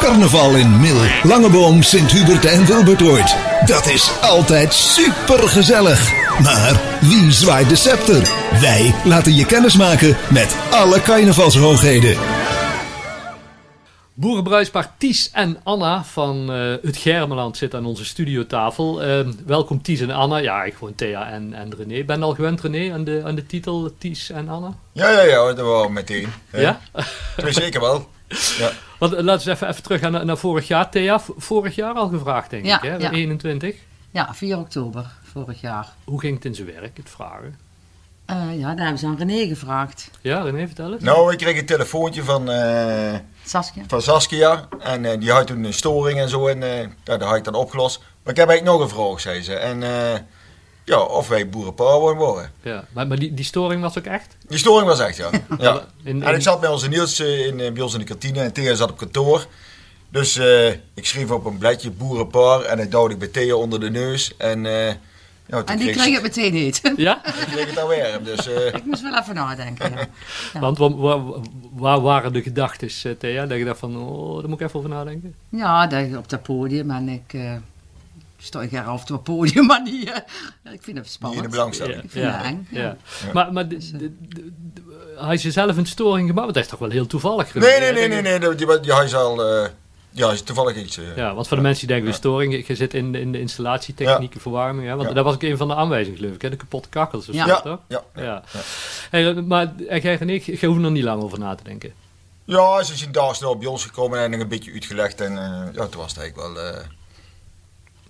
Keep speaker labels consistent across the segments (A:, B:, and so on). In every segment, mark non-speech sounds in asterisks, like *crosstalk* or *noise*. A: Carnaval in Mil, Langeboom, Sint-Hubert en Wilbertoord. Dat is altijd supergezellig. Maar wie zwaait de scepter? Wij laten je kennis maken met alle carnavalshoogheden.
B: Boerenbruidspaar Ties en Anna van eh, het Germeland zitten aan onze studiotafel. Eh, welkom Ties en Anna. Ja, ik gewoon Thea en, en René. Ben je al gewend René aan de, aan de titel Ties en Anna?
C: Ja, ja, ja, hoor, dat waren we meteen.
B: Ja?
C: Toen zeker wel. Ja.
B: Want, eh, laten we eens even, even terug gaan naar, naar vorig jaar. Thea, v- vorig jaar al gevraagd denk
D: Ja,
B: ik hè?
D: ja.
B: 21.
D: Ja, 4 oktober vorig jaar.
B: Hoe ging het in zijn werk, het vragen?
D: Eh, ja, daar hebben ze aan René gevraagd.
B: Ja, René, vertel eens.
C: Nou, ik kreeg een telefoontje van, eh,
D: Saskia.
C: van Saskia. En eh, die had toen een storing en zo. En eh, ja, dat had ik dan opgelost. Maar ik heb eigenlijk nog een vraag, zei ze. En eh, ja, of wij boerenpower worden.
B: Ja. Maar, maar die, die storing was ook echt?
C: Die storing was
B: *laughs*
C: echt, ja. ja.
B: In-
C: En ik
B: in-
C: zat bij onze Niels eh, in, eh, bij ons in de kantine. En Thea zat op kantoor. Dus eh, ik schreef op een bladje boerenpaar. En dat duwde ik bij Thea onder de neus. En, eh, ja, toen
D: En die kreeg het meteen niet. *laughs*
B: Ja?
C: ze- kreeg het alweer. Dus eh,
D: Ik moest wel even nadenken. ja. Ja.
B: Want wa- wa- wa- waar waren de gedachten, eh, Thea? Dat je dacht van, oh, daar moet ik even over nadenken.
D: Ja, daar op dat podium en ik eh, sta ik graag op dat podium, *laughs* maar niet, eh, ik vind het
C: die in de
D: spannend.
C: belangstelling.
D: Ik vind het eng, ja.
B: Maar, maar d- d- d- hij is zelf een storing gemaakt, maar dat is toch wel heel toevallig.
C: Nee, nee, nee, nee, nee, nee, die, die hij is al, eh, ja, hij is toevallig iets. eh.
B: Ja, want voor de mensen die denken, de storing, je zit in de, in de installatietechniek, verwarming. Hè? Want
C: Ja.
B: dat was ook een van de aanwijzingen, geloof ik, hè? de kapotte kakkels of
D: Ja.
B: zo, toch?
C: ja, ja.
B: Ja. Hey, maar en jij en ik, je hoeft er niet lang over na te denken.
C: Ja, ze zijn daar snel bij ons gekomen en een beetje uitgelegd en eh, ja, toen was het eigenlijk wel eh,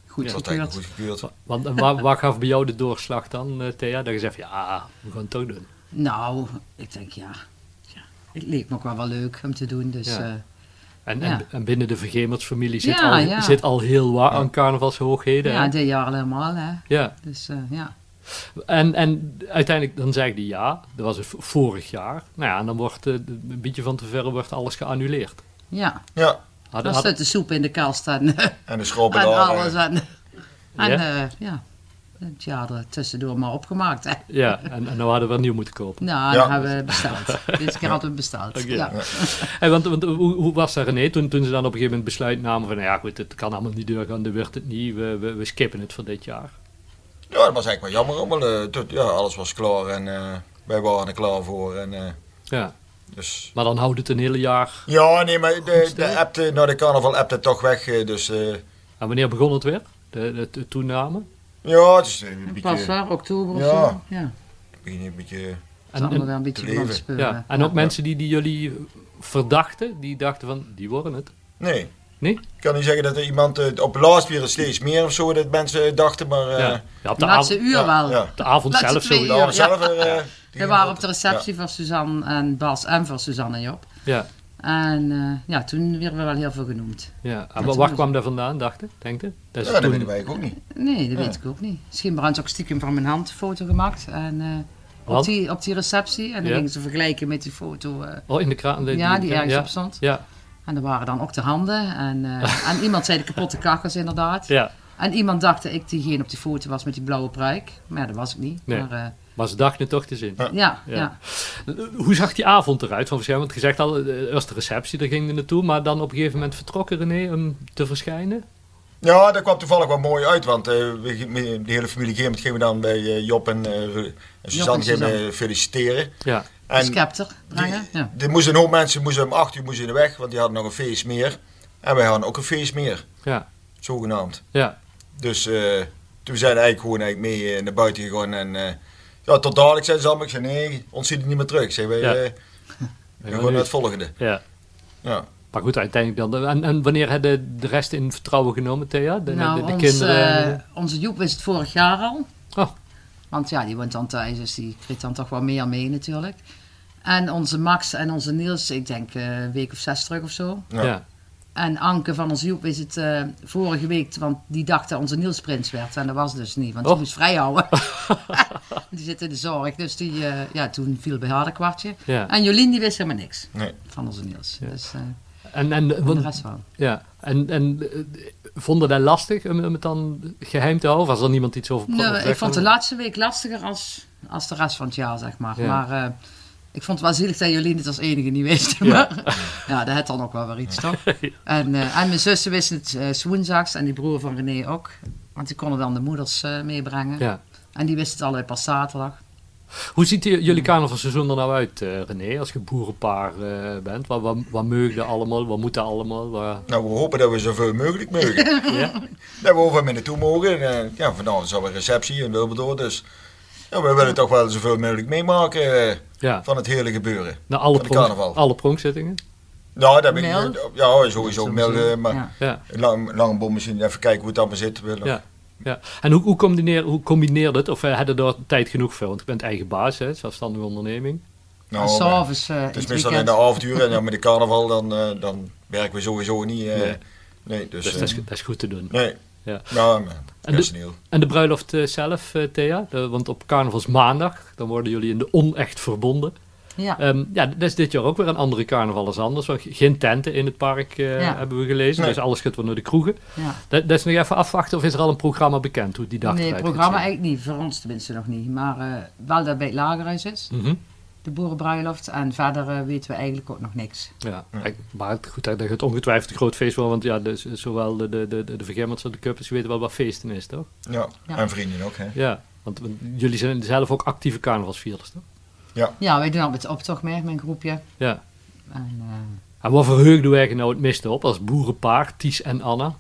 D: Goed
C: het was eigenlijk
D: gekeurd.
C: goed gekeurd.
B: Want eh, waar, waar gaf bij jou de doorslag dan, eh, Thea? Dat je zegt, van, ja, we gaan het toch doen.
D: Nou, ik denk ja. ja. Het leek me ook wel, wel leuk om te doen, dus
B: Ja.
D: ja.
B: En,
D: Ja.
B: en, en binnen de Vergemertsfamilie zit,
D: Ja,
B: al,
D: ja.
B: zit al heel wat aan carnavalshoogheden.
D: ja,
B: hè?
D: dit jaar helemaal, hè.
B: ja.
D: Dus eh, ja.
B: En, en uiteindelijk dan zei hij ja, dat was het v- vorig jaar. Nou ja, en dan wordt eh, een beetje van tevoren wordt alles geannuleerd.
D: Ja,
C: Ja,
B: Had,
D: dan
B: had-
D: zit de soep in de kast en, *laughs*
C: en de
D: en
C: schroppen daar.
D: alles.
C: eh,
D: En, en
B: Ja?
D: ja. ja, het jaar er tussendoor maar opgemaakt, hè.
B: ja, en, en dan hadden we nieuw moeten kopen.
D: Nou,
C: Ja.
D: dat hebben we besteld. Dit keer hadden we besteld.
B: Oké.
D: Ja.
B: En want, want hoe, hoe was dat René toen, toen ze dan op een gegeven moment besluit namen van... Nou ja goed, het kan allemaal niet doorgaan, dan werd het niet, we, we, we skippen het voor dit jaar.
C: Ja, dat was eigenlijk wel jammer allemaal. eh, tot, ja, alles was klaar en eh, wij waren er klaar voor. En, eh,
B: Ja,
C: dus.
B: maar dan houdt het een hele jaar.
C: Ja, nee, maar de,
B: stil.
C: de, app, de, nou, de carnaval appte toch weg, eh, dus eh,
B: En wanneer begon het weer? De, de, de toename?
C: ja, het is eh, een
D: Pas
C: beetje,
D: waar, oktober of
C: Ja.
D: zo. Ja.
C: begin een beetje
D: En,
B: En, en-
D: wel een beetje eh,
C: te leven.
D: brand speuren.
B: ja, en ook mensen die, die jullie verdachten, die dachten van, die worden het.
C: Nee.
B: Nee?
C: Ik kan niet zeggen dat er iemand eh, op laatst weer steeds meer of zo dat mensen dachten, maar eh,
B: ja. ja, op
D: De
B: de,
D: laatste
B: avond,
D: uur
C: ja,
D: wel.
C: ja.
B: de avond
D: laatste
B: zelf
D: twee
B: zo.
D: uur.
C: Daar
D: Ja.
C: was zelf er, eh, die
D: We waren op de
C: grote-
D: receptie van Suzanne en Bas en van Suzanne en Job.
B: Ja.
D: En eh, ja, toen werden we wel heel veel genoemd.
B: Ja, en
D: Dat
B: wa-
D: is
B: waar
D: mooi.
B: kwam daar vandaan, dacht je? Denk je? Dat
C: Ja,
B: is
C: ja dat
B: toen-
C: weten wij ook niet.
D: Nee, dat weet ik ook niet. Misschien hebben ze ook stiekem van mijn hand een foto gemaakt. En, eh, op,
B: Want?
D: die, op die receptie. En dan
B: Ja.
D: gingen ze vergelijken met die foto. eh,
B: Oh, in de kraan. de-
D: ja, die ergens
B: ja.
D: op stond.
B: Ja,
D: En er waren dan ook de handen. En, eh, en iemand zei de kapotte kakkers inderdaad.
B: *laughs* ja.
D: En iemand dacht dat ik diegene op die foto was met die blauwe pruik. Maar ja, dat was ik niet.
B: Nee.
D: Maar, eh,
B: Maar ze dachten het toch te zien.
D: ja,
B: Ja.
D: ja.
B: Hoe zag die avond eruit van verschijnen? Want gezegd al, eh, eerst de receptie, daar ging je naartoe. Maar dan op een gegeven moment vertrokken René om te verschijnen.
C: Ja, dat kwam toevallig wel mooi uit, want eh, we- me- de hele familie Geermert gingen we dan bij eh, Job en, eh, Ru- en Suzanne gingen we feliciteren.
B: Ja,
D: De
C: En
D: scepter
C: die,
D: brengen. Ah, Ja.
C: die moesten een hoop mensen moesten om acht uur moesten in de weg, want die hadden nog een feest meer. En wij hadden ook een feest meer,
B: ja,
C: zogenaamd.
B: ja.
C: Dus eh, toen zijn we eigenlijk gewoon eigenlijk mee eh, naar buiten gegaan en... eh, ja, tot dadelijk zijn ze allemaal. Ik zei, nee, ons zien die niet meer terug. Zeg, wij
D: *laughs*
B: Ja.
C: eh, we gaan naar het volgende.
B: ja.
C: Ja.
B: Maar goed, uiteindelijk dan. En, en wanneer hebben de, de rest in vertrouwen genomen, Thea? De, de-
D: nou,
B: de, de
D: ons,
B: kinderen?
D: eh, onze Joep wist het vorig jaar al.
B: Oh.
D: Want ja, die woont dan thuis, dus die kreeg dan toch wel meer mee natuurlijk. En onze Max en onze Niels, ik denk eh, een week of zes terug of zo.
B: ja.
C: ja.
B: Ja.
D: En Anke van onze Joep is het eh, vorige week, want die dacht dat onze Niels prins werd. En dat was dus niet, want die
B: Oh.
D: moest
B: *laughs*
D: vrijhouden. *laughs* die zit in de zorg, dus die, eh, ja, toen viel bij haar een kwartje. En Jolien die wist helemaal niks
C: Nee.
D: van onze Niels. Dus eh,
B: En, en,
D: de
B: want,
D: rest wel.
B: ja. en, en eh, vonden dat lastig om om het dan geheim te houden? Of was er niemand iets over
D: Nee,
B: over
D: Nou, ik
B: gezegd?
D: vond de laatste week lastiger als, als de rest van het jaar, zeg maar.
B: Ja.
D: Maar eh, Ik vond het wel zielig dat jullie het als enige niet wisten.
B: Ja.
D: Maar ja, dat had dan ook wel weer
B: *laughs*
D: iets, toch? En, eh, en mijn zussen wisten het eh, 's woensdags en die broer van René ook. Want die konden dan de moeders eh, meebrengen.
B: Ja.
D: En die wisten het allebei pas zaterdag.
B: Hoe ziet die- jullie carnavalseizoen er nou uit, eh, René? Als je boerenpaar eh, bent, wat, wat, wat meug je allemaal? Wat moet dat allemaal? Waar-
C: Nou, we hopen dat we zoveel mogelijk
D: *laughs*
C: mogen.
B: ja?
C: dat we overal mee naartoe mogen. En, eh, ja, vanavond is alweer receptie in Wilberdoor. Dus ja, we willen toch wel zoveel mogelijk meemaken eh,
B: ja.
C: van het hele gebeuren.
B: Nou, alle,
C: van de
B: pronk-
C: carnaval.
B: alle pronkzittingen.
C: Nou, daar ben ik,
D: Mel?
C: ja, sowieso melden. Maar
D: Ja.
B: Ja.
C: lang, lang bom misschien even kijken hoe het allemaal zit. We-
B: Ja. Ja. En hoe, hoe, combineer, hoe combineer dat? Of eh, had je daar tijd genoeg voor? Want je bent eigen baas, hè? zelfstandige onderneming.
D: en
C: Nou, maar
D: s'avonds eh,
C: het
D: in
C: is
D: het
C: meestal in
D: weekend.
C: de avonduren en ja,
D: *laughs*
C: met de carnaval dan, eh, dan werken we sowieso niet. eh,
B: Nee.
C: nee. dus,
B: Dus
C: eh,
B: dat is, dat is goed te doen.
C: nee.
B: Ja.
C: Nou, maar
B: En de-
C: personeel.
B: En de bruiloft eh, zelf, eh, Thea? De- want op carnavalsmaandag, dan worden jullie in de onecht verbonden.
D: Ja.
B: Ehm, ja, dat is dit jaar ook weer een andere carnaval als anders. Want geen tenten in het park eh,
D: Ja.
B: hebben we gelezen.
C: Nee.
B: Dus alles gaat weer naar de kroegen.
D: ja.
B: Dat, dat is nog even afwachten of is er al een programma bekend hoe die dag
D: Nee, het
B: eruit
D: programma
B: gaat zien?
D: eigenlijk niet. Voor ons tenminste nog niet. Maar eh, wel dat bij het lagerhuis is.
B: Mhm.
D: De boerenbruiloft. En verder eh, weten we eigenlijk ook nog niks.
B: Ja, ik- maar het- goed, dat dat gaat ongetwijfeld een groot feest worden. Want ja, dus, zowel de, de, de, de Vergemmers als de Cuppers weten wel wat feesten is, toch?
C: Ja.
D: Ja.
C: en vrienden ook. Hè.
B: Ja, want, want jullie zijn zelf ook actieve carnavalsvierders, toch?
D: Ja, wij doen al met de optocht mee, mijn groepje.
B: Ja.
D: En, eh,
B: En wat verheugden wij nou het meeste op als boerenpaar, Ties en Anna?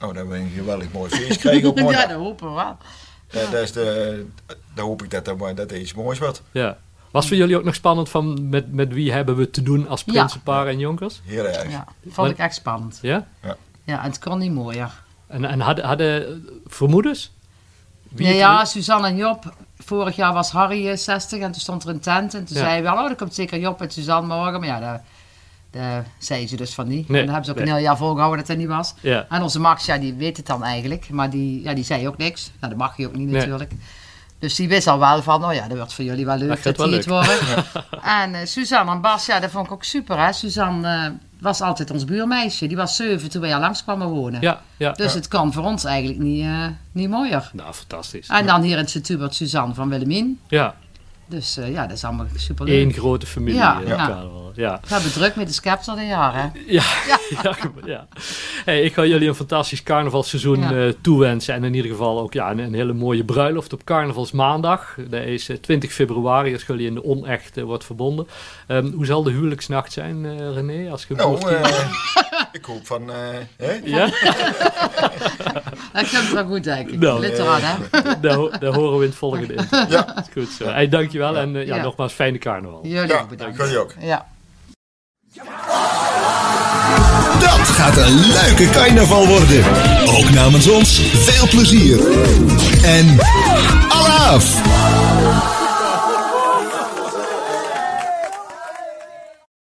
C: Nou, dat we een geweldig mooi feest
D: *laughs*
C: krijgen op maandag.
D: ja, dat hopen we wel.
C: Ja, dat is de, dan hoop ik dat er, maar dat er iets moois wordt.
B: Ja. Was voor jullie ook nog spannend van met, met wie hebben we te doen als
D: Ja.
B: prinsenpaar en jonkers?
C: Heel erg.
D: Ja, vond ik echt spannend.
B: Ja?
D: Ja, en het kon niet mooier.
B: En, en hadden, hadden vermoedens? Wie
D: Ja,
B: het-
D: ja, Suzanne en Job. Vorig jaar was Harry eh, 60 en toen stond er een tent. En toen
B: Ja.
D: zei we, oh, dan komt zeker Job en Suzanne morgen. Maar ja, daar daar zei ze dus van niet.
B: Nee,
D: en daar hebben ze ook
B: nee.
D: een heel jaar volgehouden dat dat niet was.
B: Ja.
D: En onze Max, ja, die weet het dan eigenlijk. Maar die, ja, die zei ook niks. Nou, dat mag je ook niet
B: Nee.
D: natuurlijk. Dus die wist al wel van, oh ja, dat wordt voor jullie wel leuk
B: Dat
D: dat,
B: gaat wel
D: die het worden.
B: *laughs*
D: En eh, Suzanne en Bas, ja, dat vond ik ook super. Hè? Suzanne eh, was altijd ons buurmeisje. Die was zeven toen wij al langs kwamen wonen.
B: Ja, ja.
D: Dus het kan voor ons eigenlijk niet, eh, niet mooier.
B: Nou, fantastisch.
D: En dan hier in Setubert Suzanne van Willemien.
B: Ja.
D: Dus eh, ja, dat is allemaal superleuk.
B: Eén grote familie.
D: Ja,
B: eh,
D: ja.
B: carnaval. ja.
D: We hebben druk met de scepter dit jaar, hè?
B: Ja, *laughs* ja. ja. Hey, ik ga jullie een fantastisch carnavalseizoen
D: Ja.
B: eh, toewensen. En in ieder geval ook ja, een, een hele mooie bruiloft op carnavalsmaandag. Dat is eh, 20 februari, als jullie in de onecht eh, wordt verbonden. Ehm, hoe zal de huwelijksnacht zijn, eh, René? Als je
C: Nou,
B: boert-
C: eh, ik hoop van... eh, hè?
B: ja? *laughs*
D: Dat komt wel goed, denk ik.
B: Nou,
D: Lid eraan, hè?
C: eh,
B: daar, ho- daar horen we in het
D: *laughs*
B: volgende interview.
C: Ja.
B: Goed zo. Hey, dankjewel en eh, ja,
D: Ja.
B: nogmaals fijne carnaval.
D: Jullie
C: Ja,
D: ook bedankt.
C: jullie ook.
D: Ja.
A: Dat gaat een leuke carnaval worden. Ook namens ons veel plezier. En